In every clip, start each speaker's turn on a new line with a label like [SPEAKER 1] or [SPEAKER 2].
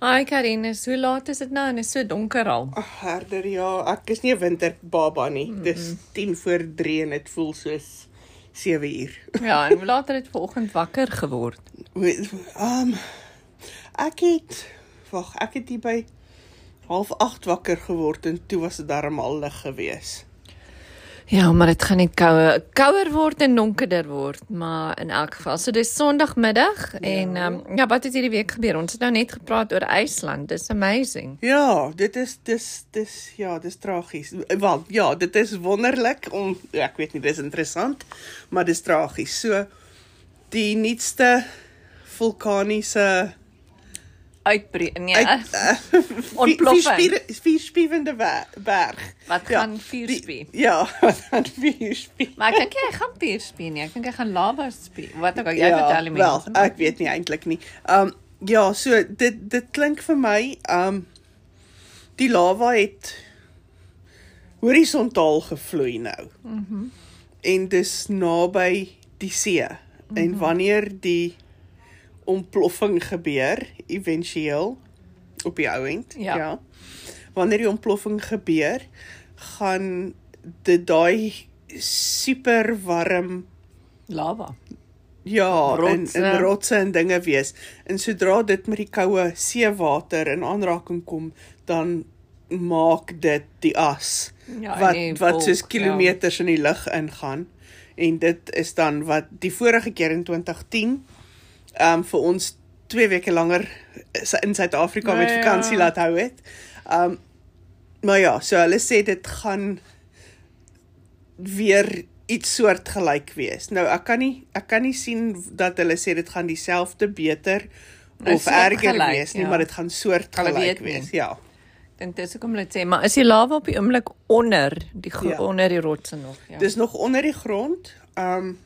[SPEAKER 1] Hi Karinus, hoe laat is dit nou en is so donker al?
[SPEAKER 2] Ag, herder ja, ek is nie 'n winterbaba nie. Mm -mm. Dis 10 voor 3 en dit voel soos 7 uur.
[SPEAKER 1] Ja, en hoe laat het dit vanoggend wakker geword?
[SPEAKER 2] Weet- Ehm um, ek het wag, ek het hier by half 8 wakker geword en toe was dit darm al lig gewees.
[SPEAKER 1] Ja, maar dit gaan net kouer, kouer word en donkerder word, maar in elk geval. So dis Sondagmiddag ja. en ehm um, ja, wat het hierdie week gebeur? Ons het nou net gepraat oor IJsland. Dis amazing.
[SPEAKER 2] Ja, dit is dis dis ja, dis tragies. Wel, ja, dit is wonderlik om ek weet nie, dis interessant, maar dis tragies. So die nuutste vulkaniese
[SPEAKER 1] Uitbreek. Nee,
[SPEAKER 2] Uit-
[SPEAKER 1] Uit, eh,
[SPEAKER 2] Vier,
[SPEAKER 1] ontploffing.
[SPEAKER 2] vier, spier- vier spiewende wer- berg.
[SPEAKER 1] Wat gaan vuur
[SPEAKER 2] die-
[SPEAKER 1] spie?
[SPEAKER 2] Ja, wat gaan vier spie?
[SPEAKER 1] maar ek dink jy gaan pier spie nie. Ek dink jy gaan lava spie. Wat ook al jy ja, vertel die
[SPEAKER 2] wel,
[SPEAKER 1] mense.
[SPEAKER 2] ek weet nie eintlik nie. Um ja, so dit dit klink vir my um die lava het horisontaal gevloei nou. Mhm. Mm en dis naby die see. Mm -hmm.
[SPEAKER 1] Mhm.
[SPEAKER 2] En wanneer die ontploffing gebeur éventueel op die ou end,
[SPEAKER 1] Ja.
[SPEAKER 2] ja. Wanneer die ontploffing gebeur, gaan dit daai super warm
[SPEAKER 1] lava.
[SPEAKER 2] Ja,
[SPEAKER 1] Rotse.
[SPEAKER 2] en en rotse en dinge wees. En sodra dit met die koue seewater in aanraking kom, dan maak dit die as
[SPEAKER 1] Ja, en
[SPEAKER 2] wat
[SPEAKER 1] die
[SPEAKER 2] wat soos
[SPEAKER 1] wolk, ja.
[SPEAKER 2] kilometers ja. in die lug ingaan. En dit is dan wat die vorige keer in 2010 ehm um, vir ons 2 weke langer is- in Suid-Afrika
[SPEAKER 1] Nou
[SPEAKER 2] met
[SPEAKER 1] ja.
[SPEAKER 2] vakansie laat hou het. Ehm um, maar ja, so hulle sê dit gaan weer iets soortgelyk wees. Nou ek kan nie ek kan nie sien dat hulle sê dit gaan dieselfde beter
[SPEAKER 1] Nou,
[SPEAKER 2] of erger
[SPEAKER 1] soortgelyk,
[SPEAKER 2] wees nie,
[SPEAKER 1] ja.
[SPEAKER 2] ja. maar dit gaan
[SPEAKER 1] weet
[SPEAKER 2] soortgelyk
[SPEAKER 1] nie.
[SPEAKER 2] wees. Ja.
[SPEAKER 1] Ek dink dis hoekom hulle dit sê, maar is die lava op die oomblik onder die ja.
[SPEAKER 2] Ja.
[SPEAKER 1] onder die rotse nog, ja.
[SPEAKER 2] Dis nog onder die grond. Um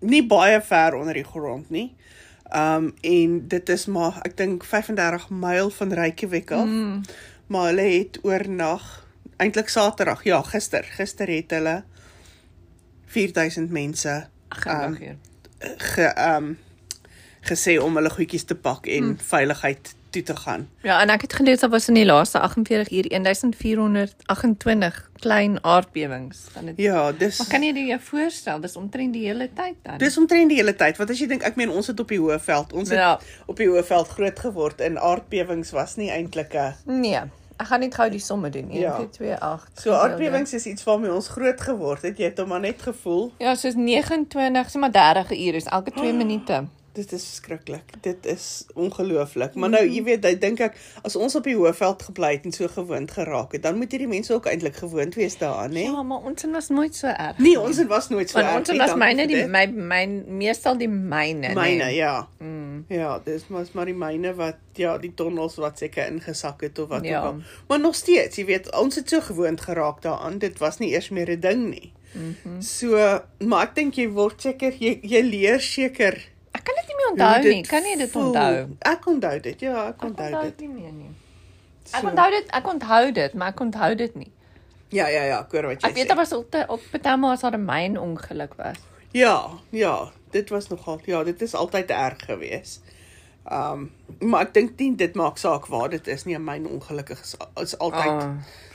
[SPEAKER 2] nie baie ver onder die grond nie. Um en dit is maar ek dink 35 myl van Reykjavik af. Mm. Maar hulle het oornag, eintlik Saterdag, ja, gister, gister het hulle 4000 mense um,
[SPEAKER 1] Gelukkig. Um,
[SPEAKER 2] ge um gesê om hulle goedjies te pak en mm. veiligheid toe te gaan.
[SPEAKER 1] Ja, en ek het gelees daar was in die laaste 48 uur 1428 klein aardbewings. Kan dit
[SPEAKER 2] Ja, dis
[SPEAKER 1] Maar kan jy dit jou voorstel? Dis omtrent die hele tyd dan.
[SPEAKER 2] Dis omtrent die hele tyd, want as jy dink, ek meen ons het op die Hoëveld, ons het
[SPEAKER 1] Ja.
[SPEAKER 2] ja. op die Hoëveld groot geword en aardbewings was nie eh, eintlik 'n
[SPEAKER 1] nee. Ek gaan net gou die somme doen. 1
[SPEAKER 2] Ja.
[SPEAKER 1] 2 2 8.
[SPEAKER 2] So aardbewings is iets waarmee ons groot geword het. Jy het hom maar net gevoel.
[SPEAKER 1] Ja, soos 29, sê maar 30 uur is elke
[SPEAKER 2] Ah.
[SPEAKER 1] 2
[SPEAKER 2] Ja,
[SPEAKER 1] minute.
[SPEAKER 2] Dit is verskriklik. Dit is ongelooflik. Maar nou, jy weet, ek dink ek as ons op die Hoëveld gebly het en so gewoond geraak het, dan moet hierdie mense ook eintlik gewoond wees daaraan, hè? Ja.
[SPEAKER 1] Ja, maar ons en was nooit so erg.
[SPEAKER 2] Nee, ons het was nooit so.
[SPEAKER 1] Want
[SPEAKER 2] erg
[SPEAKER 1] ons en
[SPEAKER 2] nie,
[SPEAKER 1] was
[SPEAKER 2] dankie
[SPEAKER 1] myne
[SPEAKER 2] vir
[SPEAKER 1] die
[SPEAKER 2] dit.
[SPEAKER 1] my my meestal die myne. nee.
[SPEAKER 2] myne, ja. Mm. Ja, dis mos maar die myne wat ja, die tonnels wat seker ingesak het of wat
[SPEAKER 1] Ja.
[SPEAKER 2] ja. ook al. Maar nog steeds, jy weet, ons het so gewoond geraak daaraan. Dit was nie eers meer 'n ding nie. Mm -hmm.
[SPEAKER 1] Mhm.
[SPEAKER 2] So, maar ek dink jy word seker jy, jy leer seker
[SPEAKER 1] Ek kan dit nie meer
[SPEAKER 2] hoe
[SPEAKER 1] onthou
[SPEAKER 2] dit
[SPEAKER 1] nie. Kan jy dit
[SPEAKER 2] voel.
[SPEAKER 1] onthou?
[SPEAKER 2] Ek onthou dit. Ja, ek onthou,
[SPEAKER 1] Onthou
[SPEAKER 2] dit.
[SPEAKER 1] dit nie meer nie. Ek onthou dit, ek onthou dit, maar ek onthou dit nie.
[SPEAKER 2] Ja, ja, ja, ek hoor wat jy
[SPEAKER 1] Ek weet
[SPEAKER 2] sê.
[SPEAKER 1] daar was op op Petama as daar 'n myn ongeluk was.
[SPEAKER 2] Ja, ja, dit was nogal ja, dit is altyd erg geweest. Um maar ek dink nie dit maak saak waar dit is nie, myn ongelukkig is, al- is altyd.
[SPEAKER 1] Ah.
[SPEAKER 2] Oh.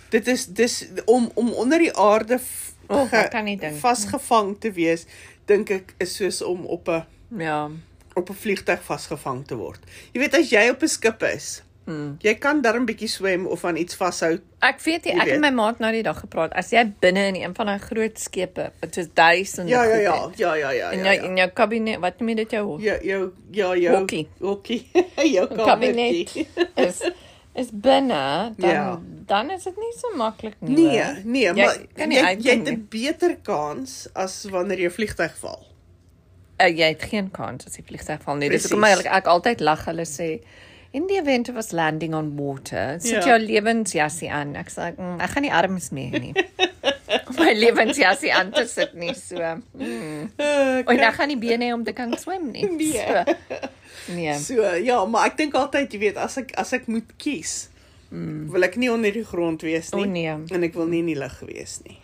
[SPEAKER 2] Dit is dis om om onder die aarde f-
[SPEAKER 1] O, ek
[SPEAKER 2] ge-
[SPEAKER 1] Oh, kan nie dink nie.
[SPEAKER 2] vasgevang te wees, dink ek is soos om op 'n
[SPEAKER 1] Ja.
[SPEAKER 2] op 'n vliegtyg vasgevang te word. Jy weet as jy op 'n skip is,
[SPEAKER 1] Hmm.
[SPEAKER 2] mm. jy kan darm bietjie swem of aan iets vashou.
[SPEAKER 1] Ek weet nie,
[SPEAKER 2] Jy
[SPEAKER 1] ek en
[SPEAKER 2] weet.
[SPEAKER 1] my maat nou die dag gepraat. As jy binne in een van daai groot skepe, dit is duisende
[SPEAKER 2] Ja, ja,
[SPEAKER 1] goed
[SPEAKER 2] ja,
[SPEAKER 1] het,
[SPEAKER 2] ja, ja, ja.
[SPEAKER 1] In
[SPEAKER 2] ja,
[SPEAKER 1] jou
[SPEAKER 2] ja.
[SPEAKER 1] in jou kabinet, wat noem jy dit jou
[SPEAKER 2] Ja, jou ja, jou
[SPEAKER 1] Hokkie.
[SPEAKER 2] Hokkie. jou
[SPEAKER 1] kabinet
[SPEAKER 2] kabinet.
[SPEAKER 1] is is binne, dan
[SPEAKER 2] Ja.
[SPEAKER 1] dan is dit nie so maklik nie. hoor.
[SPEAKER 2] Nee, nee,
[SPEAKER 1] jy,
[SPEAKER 2] maar
[SPEAKER 1] kan
[SPEAKER 2] jy
[SPEAKER 1] nie
[SPEAKER 2] jy,
[SPEAKER 1] uitkom
[SPEAKER 2] jy het
[SPEAKER 1] nie.
[SPEAKER 2] 'n beter kans as wanneer jy vliegtyg val.
[SPEAKER 1] Uh, jy het geen kans as die vliegtuig val nie. Dis
[SPEAKER 2] Presies.
[SPEAKER 1] hoekom ek, ek altyd lag hulle sê in die event of us landing on water, sit ja.
[SPEAKER 2] Ja.
[SPEAKER 1] jou lewensjassie aan. Ek sê mm, ek gaan nie arms meer nie. Om my lewensjassie aan te sit nie so. Mm.
[SPEAKER 2] Uh,
[SPEAKER 1] En dan gaan die bene om te kan swem nie.
[SPEAKER 2] Nee.
[SPEAKER 1] So, nee.
[SPEAKER 2] so ja, maar ek dink altyd, jy weet, as ek as ek moet kies,
[SPEAKER 1] Hmm.
[SPEAKER 2] mm.
[SPEAKER 1] Oh,
[SPEAKER 2] wil ek nie onder die grond wees nie.
[SPEAKER 1] O, nee.
[SPEAKER 2] En ek wil nie in die lug wees nie.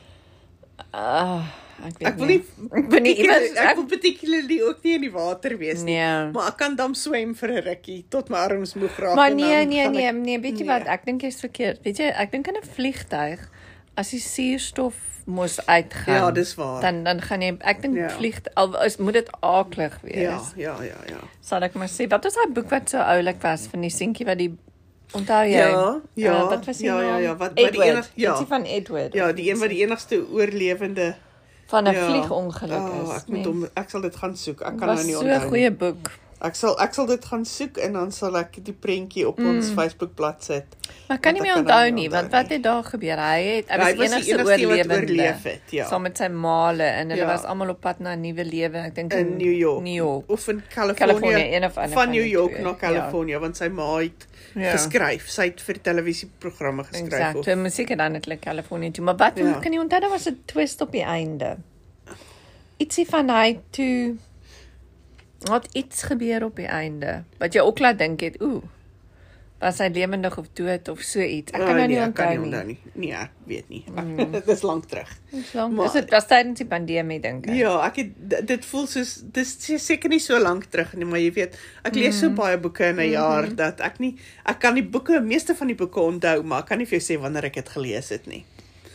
[SPEAKER 1] Uh, Ek weet
[SPEAKER 2] Ek wil nie
[SPEAKER 1] Ek wil nie iewers
[SPEAKER 2] ek wil particularly ook nie in die water wees nie.
[SPEAKER 1] Nee.
[SPEAKER 2] Maar ek kan dan swem vir 'n rukkie tot my arms moeg raak.
[SPEAKER 1] Maar
[SPEAKER 2] en
[SPEAKER 1] nee,
[SPEAKER 2] dan
[SPEAKER 1] nee,
[SPEAKER 2] nou gaan
[SPEAKER 1] nee,
[SPEAKER 2] ek-
[SPEAKER 1] nee, weet jy
[SPEAKER 2] Nee.
[SPEAKER 1] wat? Ek dink jy's verkeerd. Weet jy, ek dink in 'n vliegtyg as die suurstof mos uitgaan.
[SPEAKER 2] Ja, dis waar.
[SPEAKER 1] Dan dan gaan jy ek dink
[SPEAKER 2] Ja.
[SPEAKER 1] vlieg al is moet dit aaklig wees.
[SPEAKER 2] Ja, ja, ja, ja.
[SPEAKER 1] Sal ek maar sê, wat was daai boek wat so oulik was van die seentjie wat die onthou jy?
[SPEAKER 2] Ja, ja,
[SPEAKER 1] Eh, wat was die
[SPEAKER 2] ja, ja,
[SPEAKER 1] naam?
[SPEAKER 2] ja, wat- wat die
[SPEAKER 1] Edward,
[SPEAKER 2] enig- ja.
[SPEAKER 1] Ietsie van Edward.
[SPEAKER 2] Ja, die een wat die enigste oorlewende
[SPEAKER 1] van 'n
[SPEAKER 2] ja.
[SPEAKER 1] vliegongeluk
[SPEAKER 2] Ah,
[SPEAKER 1] is.
[SPEAKER 2] ek moet
[SPEAKER 1] nee.
[SPEAKER 2] hom ek sal dit gaan soek. Ek kan nou
[SPEAKER 1] was
[SPEAKER 2] nie
[SPEAKER 1] so 'n
[SPEAKER 2] onthou. nie.
[SPEAKER 1] goeie boek.
[SPEAKER 2] Ek sal ek sal dit gaan soek en dan sal ek die prentjie op ons
[SPEAKER 1] Mm.
[SPEAKER 2] Facebookblad sit.
[SPEAKER 1] Maar ek kan nie
[SPEAKER 2] Want
[SPEAKER 1] meer
[SPEAKER 2] ek kan
[SPEAKER 1] onthou
[SPEAKER 2] hom
[SPEAKER 1] nie,
[SPEAKER 2] nie
[SPEAKER 1] want
[SPEAKER 2] onthou
[SPEAKER 1] wat het daar gebeur? Hy het hy
[SPEAKER 2] Ja,
[SPEAKER 1] was
[SPEAKER 2] hy
[SPEAKER 1] die
[SPEAKER 2] was die
[SPEAKER 1] enigste
[SPEAKER 2] enigste wat
[SPEAKER 1] oorlewende.
[SPEAKER 2] oorleef het, ja.
[SPEAKER 1] Saam met sy maale en hulle
[SPEAKER 2] Ja.
[SPEAKER 1] was almal op pad na 'n nuwe lewe, ek dink
[SPEAKER 2] in New York.
[SPEAKER 1] New York.
[SPEAKER 2] of in California,
[SPEAKER 1] Californië, een of ander
[SPEAKER 2] van
[SPEAKER 1] van
[SPEAKER 2] New
[SPEAKER 1] die
[SPEAKER 2] York
[SPEAKER 1] twee,
[SPEAKER 2] na
[SPEAKER 1] ja.
[SPEAKER 2] California ja. want sy ma het
[SPEAKER 1] Ja.
[SPEAKER 2] ja. geskryf. Sy het vir televisieprogramme geskryf.
[SPEAKER 1] Exact.
[SPEAKER 2] Exactly.
[SPEAKER 1] Hy moet seker dan net Kalifornië toe, maar wat
[SPEAKER 2] Ja.
[SPEAKER 1] ja. kan jy onthou daar was 'n twist op die einde. Ietsie van hy toe wat iets gebeur op die einde wat jy ook laat dink het, ooh. Was hy lewendig of dood of so iets? Ek kan nou nie
[SPEAKER 2] Ah, Oh, nee, ek kan
[SPEAKER 1] onthou
[SPEAKER 2] nie
[SPEAKER 1] nie.
[SPEAKER 2] onthou nie. Nee, ek weet nie. Mm. Dit is lank terug.
[SPEAKER 1] Dis lank.
[SPEAKER 2] Maar-
[SPEAKER 1] Dis dit was tydens die pandemie dink ek.
[SPEAKER 2] Ja, ek het d- dit voel soos dis se- seker nie so lank terug nie, maar jy weet, ek lees
[SPEAKER 1] Mm.
[SPEAKER 2] so baie boeke
[SPEAKER 1] Mm-hmm.
[SPEAKER 2] in 'n jaar dat ek nie ek kan die boeke, meeste van die boeke onthou, maar ek kan nie vir jou sê wanneer ek dit gelees het nie.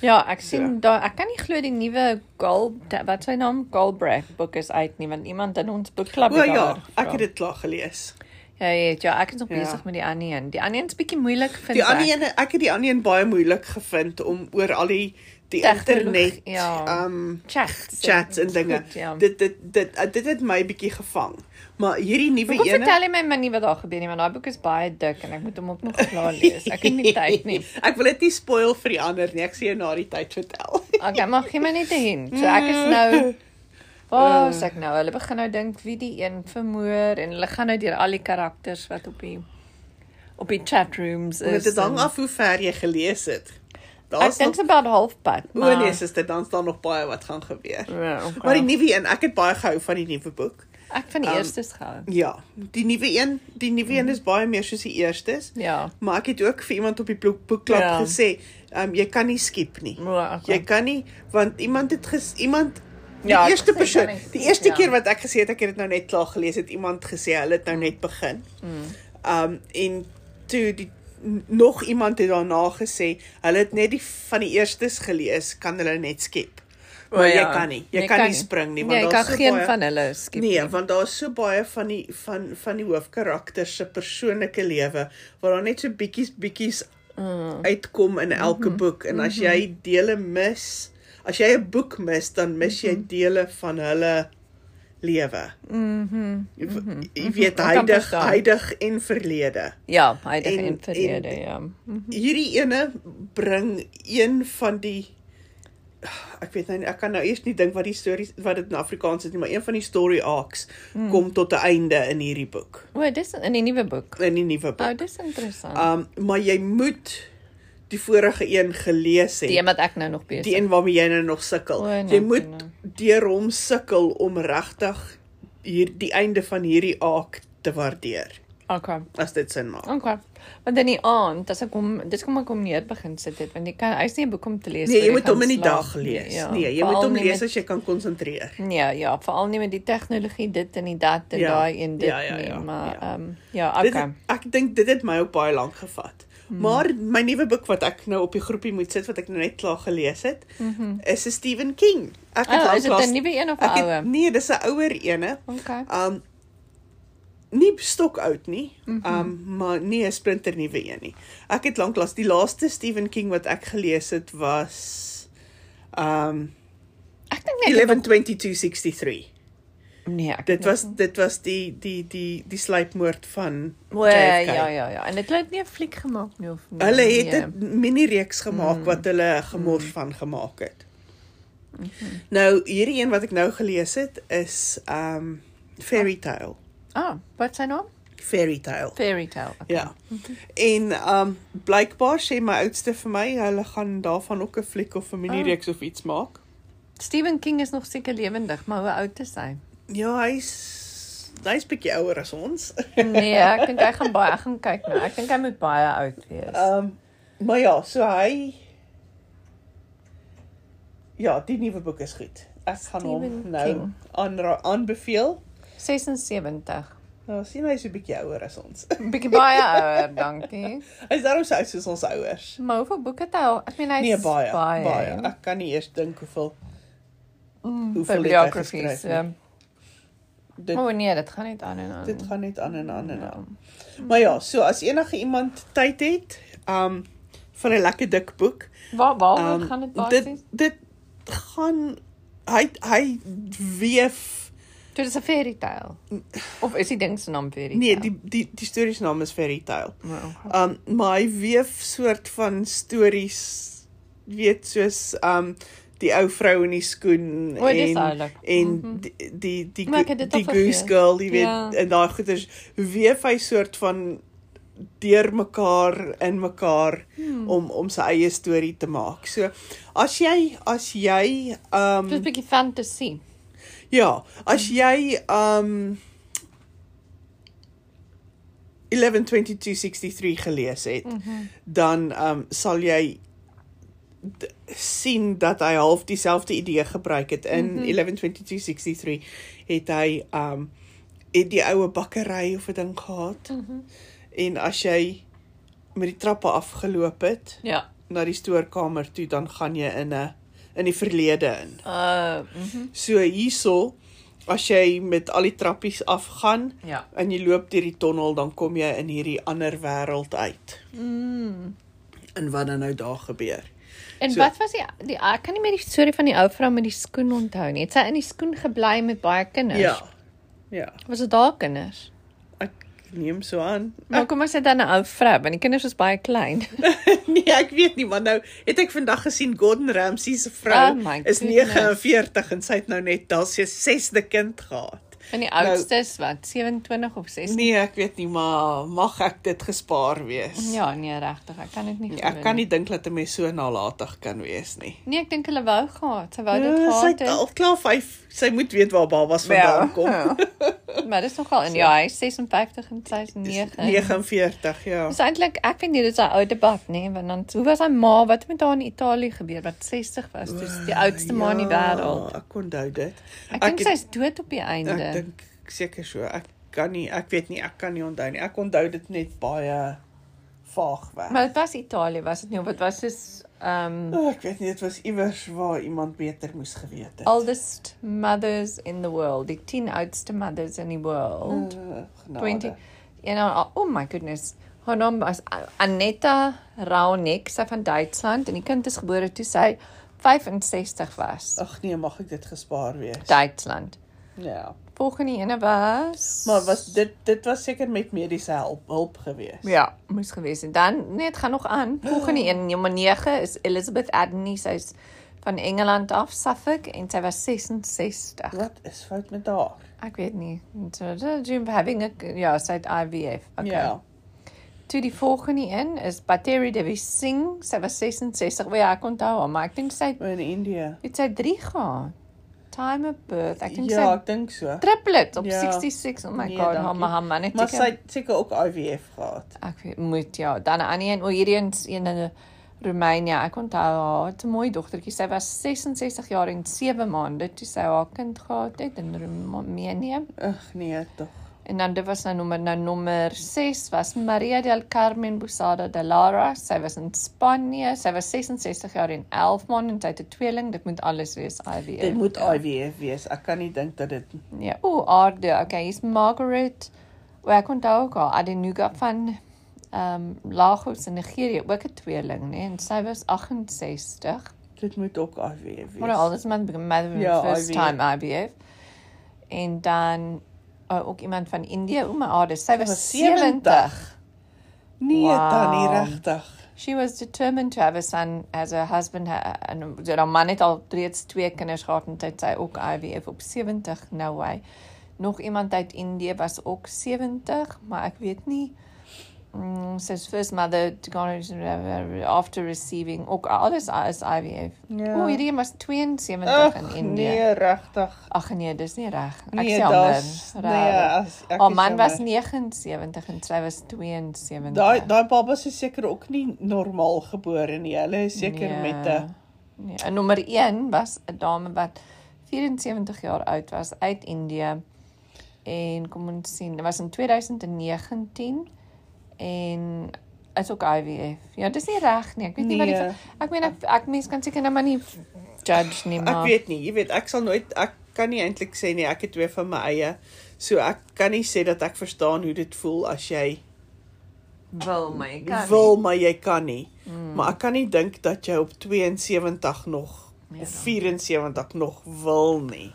[SPEAKER 1] Ja, ek sien daar ek kan nie glo die nuwe Gal wat sy naam Galbraith boek is uit nie want iemand in ons boekklub
[SPEAKER 2] O ja, ek het dit klaar gelees.
[SPEAKER 1] Ja, ja, ja, ek is nog
[SPEAKER 2] Ja.
[SPEAKER 1] besig met die ander een. Die ander een's bietjie moeilik vind
[SPEAKER 2] Die
[SPEAKER 1] ek.
[SPEAKER 2] ander een, ek het die ander een baie moeilik gevind om oor al die die
[SPEAKER 1] Tegnologie,
[SPEAKER 2] internet
[SPEAKER 1] ja.
[SPEAKER 2] um
[SPEAKER 1] chats.
[SPEAKER 2] chats en dinge.
[SPEAKER 1] Goed, ja.
[SPEAKER 2] Dit dit dit dit het my bietjie gevang. Maar hierdie nuwe
[SPEAKER 1] Hoekom
[SPEAKER 2] een
[SPEAKER 1] vertel jy my maar nie wat daar gebeur nie want daai boek is baie dik en ek moet hom ook nog klaar lees. Ek het nie tyd nie.
[SPEAKER 2] Ek wil dit nie spoil vir die ander nie. Ek sien jou na die tyd vertel.
[SPEAKER 1] Okay, maar gee my net 'n hint. So ek is nou Waar is ek nou? Hulle begin nou dink wie die een vermoor en hulle gaan nou deur al die karakters wat op die op die chat rooms is.
[SPEAKER 2] Want dit
[SPEAKER 1] en-
[SPEAKER 2] hang af hoe ver jy gelees het.
[SPEAKER 1] Ek
[SPEAKER 2] Daar's
[SPEAKER 1] dink
[SPEAKER 2] nog
[SPEAKER 1] se about halfpad.
[SPEAKER 2] O nee, sister, dan's daar nog baie wat gaan gebeur. Maar die
[SPEAKER 1] Maar
[SPEAKER 2] nuwe een, ek het baie gehou van die nuwe boek.
[SPEAKER 1] ek van die
[SPEAKER 2] um,
[SPEAKER 1] eerstes gehou.
[SPEAKER 2] Ja, die nuwe een, die nuwe een is baie meer soos die eerstes.
[SPEAKER 1] Mhm. Ja.
[SPEAKER 2] Maar ek het ook vir iemand op die boek- boekklub
[SPEAKER 1] Ja.
[SPEAKER 2] ja. gesê, um, jy kan nie skiep nie.
[SPEAKER 1] Maar
[SPEAKER 2] Jy kan nie want iemand het ges, iemand die
[SPEAKER 1] Ja,
[SPEAKER 2] ja,
[SPEAKER 1] ek
[SPEAKER 2] eerste
[SPEAKER 1] gesê,
[SPEAKER 2] persoon,
[SPEAKER 1] kan ek skiep,
[SPEAKER 2] die eerste
[SPEAKER 1] ja.
[SPEAKER 2] ja. keer wat ek gesê het ek het dit nou net klaar gelees het iemand gesê hulle het nou net begin. Mm. Um en toe die n- nog iemand het daarna gesê hulle het net die van die eerstes gelees kan hulle net skep. Maar ja. jy kan nie. Jy, jy kan, kan nie spring nie want
[SPEAKER 1] Nee, jy
[SPEAKER 2] daar's
[SPEAKER 1] kan
[SPEAKER 2] so
[SPEAKER 1] geen
[SPEAKER 2] baie
[SPEAKER 1] van hulle skiep.
[SPEAKER 2] Nee, want daar's so baie van die van van die hoofkarakters se persoonlike lewe waar daar net so bietjies bietjies mm. uitkom in
[SPEAKER 1] Mhm.
[SPEAKER 2] elke mm -hmm. boek en as jy dele mis, as jy 'n boek mis, dan mis
[SPEAKER 1] Mhm.
[SPEAKER 2] jy dele van hulle lewe. Mhm. Mm jy weet
[SPEAKER 1] Mhm. Ek kan
[SPEAKER 2] heidig,
[SPEAKER 1] verstaan.
[SPEAKER 2] heidig en verlede.
[SPEAKER 1] Ja, heilige
[SPEAKER 2] En-
[SPEAKER 1] en
[SPEAKER 2] en-
[SPEAKER 1] verlede, ja. Mhm.
[SPEAKER 2] Hierdie ene bring een van die ek weet nou nie, ek kan nou eers nie dink wat die stories wat dit in Afrikaans is nie, maar een van die story arcs
[SPEAKER 1] Hmm.
[SPEAKER 2] mm. kom tot 'n einde in hierdie boek.
[SPEAKER 1] O, dis in die nuwe boek.
[SPEAKER 2] in die nuwe boek.
[SPEAKER 1] O, dis interessant.
[SPEAKER 2] Um maar jy moet die vorige een gelees
[SPEAKER 1] Die
[SPEAKER 2] het.
[SPEAKER 1] een wat ek nou nog
[SPEAKER 2] nee. Die
[SPEAKER 1] besig.
[SPEAKER 2] een waarmee jy nou nog sukkel.
[SPEAKER 1] O, nee,
[SPEAKER 2] Jy moet
[SPEAKER 1] nee.
[SPEAKER 2] deur hom sukkel om regtig hier die einde van hierdie aak te waardeer,
[SPEAKER 1] Okay.
[SPEAKER 2] as dit sin maak.
[SPEAKER 1] Okay. Want in die aand, as ek hom dis kom ek hom neer begin sit het want jy kan hy's nie 'n boek om te lees
[SPEAKER 2] Nee,
[SPEAKER 1] voor
[SPEAKER 2] jy moet
[SPEAKER 1] gaan
[SPEAKER 2] hom in die
[SPEAKER 1] slaap
[SPEAKER 2] dag
[SPEAKER 1] nie,
[SPEAKER 2] lees.
[SPEAKER 1] ja.
[SPEAKER 2] Nee, jy
[SPEAKER 1] Veral
[SPEAKER 2] moet hom
[SPEAKER 1] nie
[SPEAKER 2] lees
[SPEAKER 1] met-
[SPEAKER 2] as jy kan konsentreer.
[SPEAKER 1] Ja, ja, veral nie met die tegnologie dit en die dat en
[SPEAKER 2] Ja,
[SPEAKER 1] daai en dit
[SPEAKER 2] ja, ja,
[SPEAKER 1] nie,
[SPEAKER 2] ja,
[SPEAKER 1] maar
[SPEAKER 2] ja.
[SPEAKER 1] ehm ja,
[SPEAKER 2] Dit
[SPEAKER 1] okay. Hmm.
[SPEAKER 2] ek dink dit het my ook baie lank gevat. Maar my nuwe boek wat ek nou op die groepie moet sit wat ek nou net klaar gelees het, mm -hmm. is 'n Stephen King. Ek
[SPEAKER 1] Mhm. Oh,
[SPEAKER 2] lank
[SPEAKER 1] is dit
[SPEAKER 2] lank-
[SPEAKER 1] 'n nuwe een of 'n
[SPEAKER 2] Ek
[SPEAKER 1] ouë?
[SPEAKER 2] het, nee, dis 'n ouer ene.
[SPEAKER 1] Okay.
[SPEAKER 2] Um nie stokoud nie.
[SPEAKER 1] Mhm.
[SPEAKER 2] Um maar nie 'n splinternuwe een nie. Ek het lanklaas die laaste Stephen King wat ek gelees het was um
[SPEAKER 1] Ek dink net
[SPEAKER 2] 112263.
[SPEAKER 1] Nee, ek
[SPEAKER 2] Dit was dit was die die die die sluipmoord van
[SPEAKER 1] Oor,
[SPEAKER 2] JFK.
[SPEAKER 1] ja ja ja, en dit het nie 'n fliek gemaak nie of nie.
[SPEAKER 2] Hulle het
[SPEAKER 1] nee.
[SPEAKER 2] 'n mini reeks gemaak wat hulle gemors van gemaak het. Nou hierdie een wat ek nou gelees het is um Fairy Tale.
[SPEAKER 1] Ah, wat sy naam?
[SPEAKER 2] Fairy Tale.
[SPEAKER 1] Fairy Tale. Okay.
[SPEAKER 2] Ja. En um blykbaar sê my oudste vir my hulle gaan daarvan ook 'n fliek of 'n minireeks of iets maak.
[SPEAKER 1] Stephen King is nog seker lewendig, maar hoe oud is hy?
[SPEAKER 2] Ja, hy's hy's bietjie ouer as ons.
[SPEAKER 1] Nee, ek dink hy gaan baie ek gaan kyk nou. Ek dink hy moet baie oud wees.
[SPEAKER 2] um maar ja, so hy Ja, die nuwe boek is goed. Ek gaan hom
[SPEAKER 1] Stephen
[SPEAKER 2] nou
[SPEAKER 1] King.
[SPEAKER 2] aanra- aanbeveel.
[SPEAKER 1] 76.
[SPEAKER 2] Nou sien hy is 'n bietjie ouer as ons.
[SPEAKER 1] Bietjie baie ouer, dankie.
[SPEAKER 2] Hy's daarom so oud soos ons ouers.
[SPEAKER 1] Maar hoeveel boeke het hy al? Ek meen hy's
[SPEAKER 2] Nee, baie, baie. baie. Ek kan nie eers dink hoeveel hoeveel het hy
[SPEAKER 1] Mm, Bibliografies.
[SPEAKER 2] geskryf
[SPEAKER 1] ehm.
[SPEAKER 2] dit
[SPEAKER 1] O nee, dit gaan net aan en aan.
[SPEAKER 2] Dit gaan net aan en aan
[SPEAKER 1] Ja.
[SPEAKER 2] en aan. Maar ja, so as enige iemand tyd het, um vir 'n lekker dik boek.
[SPEAKER 1] Waar waar
[SPEAKER 2] Um
[SPEAKER 1] gaan dit
[SPEAKER 2] dit
[SPEAKER 1] basies?
[SPEAKER 2] dit gaan hy hy weef
[SPEAKER 1] Dit is 'n fairy tale. Of is die ding se naam fairy tale?
[SPEAKER 2] nee, die die die storie se naam is Fairy Tale.
[SPEAKER 1] Wow.
[SPEAKER 2] Um maar hy weef soort van stories weet soos um die ou vrou in die skoen
[SPEAKER 1] O, dis
[SPEAKER 2] en
[SPEAKER 1] oulik.
[SPEAKER 2] en die die die,
[SPEAKER 1] Maar ek
[SPEAKER 2] go-
[SPEAKER 1] het dit
[SPEAKER 2] die
[SPEAKER 1] al
[SPEAKER 2] goose
[SPEAKER 1] vergeet.
[SPEAKER 2] girl, jy weet,
[SPEAKER 1] Ja.
[SPEAKER 2] en daai goeters weef hy soort van deur mekaar in mekaar hmm. om om sy eie storie te maak. So as jy as jy um
[SPEAKER 1] Dis 'n bietjie fantasy.
[SPEAKER 2] Ja, as jy um 112263 gelees het, mm -hmm. dan um sal jy d- sien dat hy half dieselfde idee gebruik het in mm -hmm. 112263 het hy um het die oue bakkery of 'n ding gehad. Mm -hmm. En as jy met die trappe afgeloop het
[SPEAKER 1] Ja.
[SPEAKER 2] na die stoorkamer toe, dan gaan jy in 'n in die verlede in.
[SPEAKER 1] Uh, mhm.
[SPEAKER 2] So hierso as jy met al die trappies afgaan
[SPEAKER 1] ja.
[SPEAKER 2] en jy loop deur die tonnel dan kom jy in hierdie ander wêreld uit. Mm. En wat dan nou daar gebeur.
[SPEAKER 1] En
[SPEAKER 2] So-
[SPEAKER 1] so, wat was die die ek kan nie meer die storie van die ou vrou met die skoen onthou nie. Het sy in die skoen gebly met baie kinders?
[SPEAKER 2] Ja. Ja,
[SPEAKER 1] Was dit haar kinders?
[SPEAKER 2] ek neem so aan.
[SPEAKER 1] Maar kom ons sê dan 'n ou vrou, want die kinders was baie klein.
[SPEAKER 2] nee, ek weet nie, maar nou het ek vandag gesien Gordon Ramsay se
[SPEAKER 1] Oh
[SPEAKER 2] vrou
[SPEAKER 1] my
[SPEAKER 2] is
[SPEAKER 1] goodness.
[SPEAKER 2] 49 en sy het nou net dalk sy 6de kind gehad.
[SPEAKER 1] En die oudstes wat 27 of 16.
[SPEAKER 2] Nee, ek weet nie, maar mag ek dit gespaar wees?
[SPEAKER 1] Ja, nee, regtig, ek kan dit nie glo
[SPEAKER 2] Nee, Ek kan nie dink dat 'n mens so nalatig kan wees nie.
[SPEAKER 1] Nee, ek dink hulle wou gehad. Sy wou dit
[SPEAKER 2] Ja, Sy
[SPEAKER 1] gehad
[SPEAKER 2] het
[SPEAKER 1] het.
[SPEAKER 2] al klaar 5. Sy moet weet waar babas vandaan kom.
[SPEAKER 1] Ja. Maar dis nogal in ja, hy is 56 en sy is 9.
[SPEAKER 2] 49, ja.
[SPEAKER 1] Dis eintlik ek vind nie dit is 'n ou debat nê, want dan hoe was haar ma wat het met haar in Italië gebeur wat 60 was, dis die oudste ma in die wêreld.
[SPEAKER 2] Ja, ek onthou dit.
[SPEAKER 1] Ek dink
[SPEAKER 2] het-
[SPEAKER 1] sy's dood op die
[SPEAKER 2] ek
[SPEAKER 1] einde.
[SPEAKER 2] dink seker so. Ek kan nie, ek weet nie, ek kan nie onthou nie. Ek onthou dit net baie vaag weg.
[SPEAKER 1] Maar dit was Italië, was dit nie? Of dit was soos ehm um,
[SPEAKER 2] O, ek weet nie, dit was iewers waar iemand beter moes geweet het.
[SPEAKER 1] oldest mothers in the world, die 10 oudste mothers in die wêreld.
[SPEAKER 2] Uh, genade.
[SPEAKER 1] 20 en dan oh my goodness. Haar naam was Anetta Raunek, sy van Duitsland en die kind is gebore toe sy 65 was.
[SPEAKER 2] Ag nee, mag ek dit gespaar wees?
[SPEAKER 1] Duitsland.
[SPEAKER 2] Ja.
[SPEAKER 1] Volgende ene was
[SPEAKER 2] Maar was dit dit was seker met mediese help hulp gewees.
[SPEAKER 1] ja, moes gewees en dan net gaan nog aan. Volgende een nommer 9 is Elizabeth Adney, sy's van Engeland af, Suffolk en sy was 66.
[SPEAKER 2] Wat is fout met haar?
[SPEAKER 1] Ek weet nie. So, Jim having a ja, sy het IVF. Okay.
[SPEAKER 2] Ja.
[SPEAKER 1] Toe die volgende een is Bateri Devi Singh. Sy was 66. O ja, ek onthou haar, maar ek dink sy
[SPEAKER 2] In Indië.
[SPEAKER 1] het sy 3 gehad. Time of birth. Ek dink
[SPEAKER 2] Ja,
[SPEAKER 1] ja.
[SPEAKER 2] ek dink so.
[SPEAKER 1] sy triplets op ja.
[SPEAKER 2] Ja.
[SPEAKER 1] 66. Oh my
[SPEAKER 2] Nee,
[SPEAKER 1] nee, god,
[SPEAKER 2] dankie.
[SPEAKER 1] haar ma- haar man het
[SPEAKER 2] Maar
[SPEAKER 1] seker-
[SPEAKER 2] sy het seker ook IVF gehad.
[SPEAKER 1] ek weet, moet ja, dan 'n ander een, o hierdie een is een in Roemenië. Ek onthou haar, het 'n mooi dogtertjie. Sy was 66 jaar en 7 maande toe sy haar kind gehad het in Roemenië.
[SPEAKER 2] Ag nee, tog.
[SPEAKER 1] En dan dit was nou nommer nou nommer 6 was Maria del Carmen Busada de Lara. Sy was in Spanje. Sy was 66 jaar en 11 maande en sy het 'n tweeling. Dit moet alles wees IVF.
[SPEAKER 2] Dit moet
[SPEAKER 1] ja.
[SPEAKER 2] IVF wees. Ek kan nie dink dat dit
[SPEAKER 1] Ja. O, aarde. Okay, hier's Margaret. er O, ek onthou ook haar Adenuga van ehm um, Lagos in Nigerië, ook 'n tweeling, né? En sy was 68.
[SPEAKER 2] dit moet ook IVF wees.
[SPEAKER 1] Maar al dis man begin met
[SPEAKER 2] Ja,
[SPEAKER 1] ja, first
[SPEAKER 2] IVF.
[SPEAKER 1] IVF. time IVF. En dan oh, ook iemand van Indië, o my aarde, sy was 70.
[SPEAKER 2] Nee, wow.
[SPEAKER 1] Wow.
[SPEAKER 2] tannie regtig.
[SPEAKER 1] She was determined to have a son as her husband ha- en so haar man het al reeds twee kinders gehad en tyd sy ook IVF op 70 nou hy. Nog iemand uit Indië was ook 70, maar ek weet nie mm, says first mother to go after receiving ook alles is IVF.
[SPEAKER 2] Ja.
[SPEAKER 1] O, hierdie een was 72 in
[SPEAKER 2] Ag
[SPEAKER 1] Indië.
[SPEAKER 2] nee, regtig.
[SPEAKER 1] Ag nee, dis nie reg. Ek
[SPEAKER 2] Nee,
[SPEAKER 1] nee, jammer.
[SPEAKER 2] daar's nee,
[SPEAKER 1] Reg.
[SPEAKER 2] as ek
[SPEAKER 1] Haar
[SPEAKER 2] is
[SPEAKER 1] man was
[SPEAKER 2] jammer.
[SPEAKER 1] 79 en sy was 72.
[SPEAKER 2] Daai daai babas is seker ook nie normaal gebore nie. Hulle is seker met 'n
[SPEAKER 1] nee, 'n nommer 1 was 'n dame wat 74 jaar oud was uit Indië en kom ons sien, dit was in 2019 en is ook IVF. Ja, dis nie reg nie. Ek weet nie nee. wat
[SPEAKER 2] Nee.
[SPEAKER 1] die ek meen ek ek mense kan seker nou maar nie judge nie,
[SPEAKER 2] Ek
[SPEAKER 1] maar
[SPEAKER 2] weet nie, jy weet, ek sal nooit ek kan nie eintlik sê nie, ek het twee van my eie. So ek kan nie sê dat ek verstaan hoe dit voel as jy
[SPEAKER 1] wil my
[SPEAKER 2] wil maar jy kan nie. Mm. Maar ek kan nie dink dat jy op 72 nog
[SPEAKER 1] Ja.
[SPEAKER 2] of 74 nog wil nie.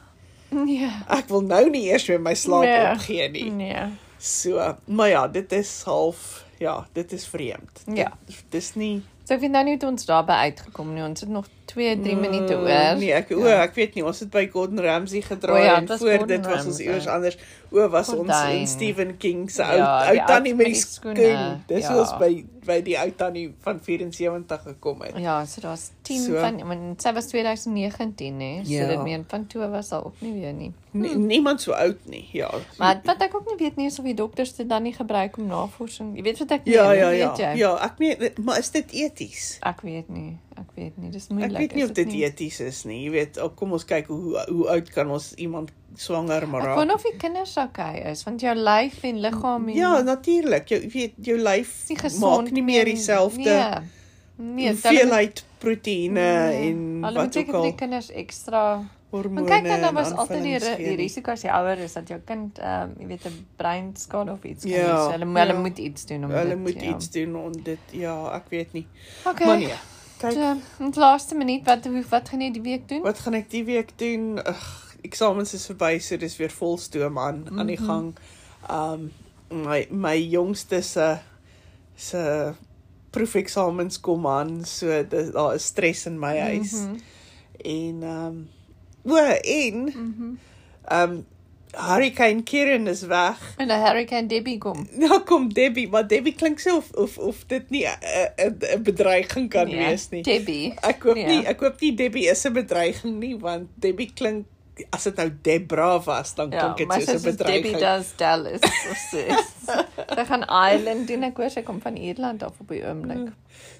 [SPEAKER 1] Nee.
[SPEAKER 2] Ek wil nou nie eers weer my slaap
[SPEAKER 1] Nee.
[SPEAKER 2] nee. opgee nie.
[SPEAKER 1] Nee.
[SPEAKER 2] So, maar ja, dit is half ja, dit is vreemd.
[SPEAKER 1] Ja.
[SPEAKER 2] Dit- Dis nie
[SPEAKER 1] So ek weet nou nie hoe ons daarby uitgekom nie. Ons het nog 2, 3 minute oor.
[SPEAKER 2] Mm,
[SPEAKER 1] Ja.
[SPEAKER 2] Nee, ek o, ek weet nie, ons het by Gordon Ramsay gedraai
[SPEAKER 1] O ja,
[SPEAKER 2] oh ja,
[SPEAKER 1] het
[SPEAKER 2] en
[SPEAKER 1] was
[SPEAKER 2] voor
[SPEAKER 1] Gordon
[SPEAKER 2] Gordon dit was ons
[SPEAKER 1] Ramsay.
[SPEAKER 2] iewers anders. O, was ons
[SPEAKER 1] Fontein.
[SPEAKER 2] in Stephen King se ou
[SPEAKER 1] Ja,
[SPEAKER 2] ou
[SPEAKER 1] die
[SPEAKER 2] tannie
[SPEAKER 1] oud
[SPEAKER 2] met
[SPEAKER 1] met
[SPEAKER 2] die
[SPEAKER 1] die skoene,
[SPEAKER 2] skoen. Dis
[SPEAKER 1] ja.
[SPEAKER 2] ja. ons by by die ou tannie van 74 gekom het.
[SPEAKER 1] Ja, so daar's 10 so.
[SPEAKER 2] So.
[SPEAKER 1] van want sy was 2019 nê. So
[SPEAKER 2] Ja. Nee.
[SPEAKER 1] dit meen van toe was al ook nie weer nie.
[SPEAKER 2] Nie, niemand so oud nie. Ja.
[SPEAKER 1] Hmm. Maar wat ek ook nie weet nie is of die dokters dit dan nie gebruik om navorsing. Jy weet wat ek
[SPEAKER 2] Ja,
[SPEAKER 1] meen,
[SPEAKER 2] ja, ja.
[SPEAKER 1] weet jy?
[SPEAKER 2] Ja, ek meen maar is dit eties?
[SPEAKER 1] Ek weet nie. Ek weet nie. Dis moeilik.
[SPEAKER 2] Ek weet nie
[SPEAKER 1] is
[SPEAKER 2] of dit eties is nie. Jy weet, oh, kom ons kyk hoe hoe oud kan ons iemand swanger
[SPEAKER 1] Ek
[SPEAKER 2] maak?
[SPEAKER 1] wonder of die kinders okay is want jou lyf en liggaam en
[SPEAKER 2] Ja, natuurlik. Jy weet, jou lyf
[SPEAKER 1] is nie gesond
[SPEAKER 2] maak nie meer dieselfde
[SPEAKER 1] Nee. Nee,
[SPEAKER 2] nee,
[SPEAKER 1] het hulle-
[SPEAKER 2] hoeveelheid proteïene nee, en
[SPEAKER 1] Hulle moet
[SPEAKER 2] wat ook
[SPEAKER 1] seker vir
[SPEAKER 2] al
[SPEAKER 1] die kinders ekstra
[SPEAKER 2] hormone.
[SPEAKER 1] Want kyk dan daar nou, was altyd die, ri-
[SPEAKER 2] aanvullings
[SPEAKER 1] die
[SPEAKER 2] gee nie.
[SPEAKER 1] risiko as jy ouer is dat jou kind ehm um, jy weet 'n breinskade of iets kan hê.
[SPEAKER 2] Ja,
[SPEAKER 1] So hulle ja. hulle
[SPEAKER 2] ja.
[SPEAKER 1] moet iets doen om
[SPEAKER 2] Hulle
[SPEAKER 1] dit,
[SPEAKER 2] moet
[SPEAKER 1] ja.
[SPEAKER 2] iets doen om dit ja, ek weet nie.
[SPEAKER 1] Okay.
[SPEAKER 2] Okay. Maar nee. Kyk,
[SPEAKER 1] So, ons ehm, laaste minuut wat hoe- wat gaan jy die week doen?
[SPEAKER 2] wat gaan ek die week doen? Ugh, eksamens is verby, so dis weer volstoom aan mm -hmm. aan die
[SPEAKER 1] Mhm.
[SPEAKER 2] gang. Um my my jongste se se proefeksamens kom aan, so dis daar is stres in my huis. Mm
[SPEAKER 1] Mhm.
[SPEAKER 2] -hmm. En um o, en mm -hmm. um Hurricane Kieran is weg.
[SPEAKER 1] En 'n hurricane Debbie kom.
[SPEAKER 2] Nou kom Debbie, maar Debbie klink so of of of dit nie eh, 'n- 'n 'n bedreiging kan
[SPEAKER 1] Nee,
[SPEAKER 2] nee, wees nie.
[SPEAKER 1] Debbie.
[SPEAKER 2] Ek hoop
[SPEAKER 1] nee.
[SPEAKER 2] nie, ek hoop nie Debbie is 'n bedreiging nie want Debbie klink as dit nou Debra was, dan
[SPEAKER 1] Ja,
[SPEAKER 2] klink
[SPEAKER 1] my
[SPEAKER 2] dit soos 'n
[SPEAKER 1] sussie Debbie
[SPEAKER 2] bedreiging.
[SPEAKER 1] does Dallas of so. Sy gaan Ireland doen ek hoor sy kom van Ierland af op die
[SPEAKER 2] Mm.
[SPEAKER 1] oomblik.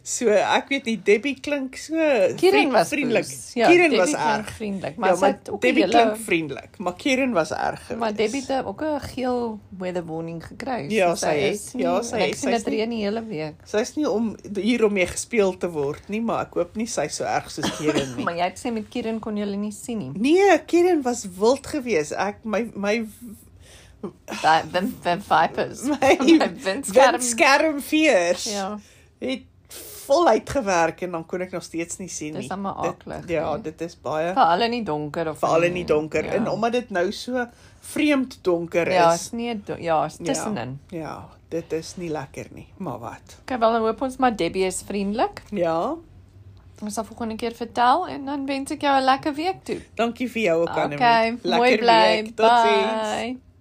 [SPEAKER 2] So ek weet nie, Debbie klink so
[SPEAKER 1] Kieran
[SPEAKER 2] vriend-
[SPEAKER 1] was
[SPEAKER 2] vriendelik.
[SPEAKER 1] boos.
[SPEAKER 2] Ja, Kieran
[SPEAKER 1] Debbie
[SPEAKER 2] was
[SPEAKER 1] klink
[SPEAKER 2] erg.
[SPEAKER 1] vriendelik, maar,
[SPEAKER 2] Maar, ja,
[SPEAKER 1] sy
[SPEAKER 2] maar
[SPEAKER 1] het ook 'n
[SPEAKER 2] Debbie
[SPEAKER 1] hele-
[SPEAKER 2] klink vriendelik, maar Kieran was erg geweest.
[SPEAKER 1] Maar Debbie het ook 'n geel weather warning gekry. so
[SPEAKER 2] Ja, sy
[SPEAKER 1] is
[SPEAKER 2] het.
[SPEAKER 1] nie-
[SPEAKER 2] Ja, sy
[SPEAKER 1] en Ek
[SPEAKER 2] het.
[SPEAKER 1] sien
[SPEAKER 2] Sy
[SPEAKER 1] dit
[SPEAKER 2] is nie-
[SPEAKER 1] reën die hele week.
[SPEAKER 2] Sy's nie om hier om mee gespeel te word nie, maar ek hoop nie sy's so erg soos Kieran nie.
[SPEAKER 1] Maar jy het gesê met Kieran kon julle nie sien nie.
[SPEAKER 2] Nee, Kieran was wild geweest. Ek my my
[SPEAKER 1] Daai Wim Wim Vipers.
[SPEAKER 2] my
[SPEAKER 1] Winskerm.
[SPEAKER 2] skermfees
[SPEAKER 1] Ja.
[SPEAKER 2] het voluit gewerk en dan kon ek nog steeds nie sien
[SPEAKER 1] Dis
[SPEAKER 2] nie.
[SPEAKER 1] allemaal akelig,
[SPEAKER 2] Dit- Ja,
[SPEAKER 1] nee.
[SPEAKER 2] dit is baie
[SPEAKER 1] Veral in die donker of
[SPEAKER 2] veral in die donker ja. en omdat dit nou so vreemd donker
[SPEAKER 1] Ja,
[SPEAKER 2] is.
[SPEAKER 1] is nie do- ja, is tussenin.
[SPEAKER 2] Ja, ja, dit is nie lekker nie, maar wat.
[SPEAKER 1] Okay, wel dan hoop ons maar Debbie is vriendelik.
[SPEAKER 2] Ja,
[SPEAKER 1] Ons sal volgende keer vertel en dan wens ek jou 'n lekker week toe.
[SPEAKER 2] dankie vir jou ook aan
[SPEAKER 1] Okay, mooi bly.
[SPEAKER 2] Totsiens.
[SPEAKER 1] Bye.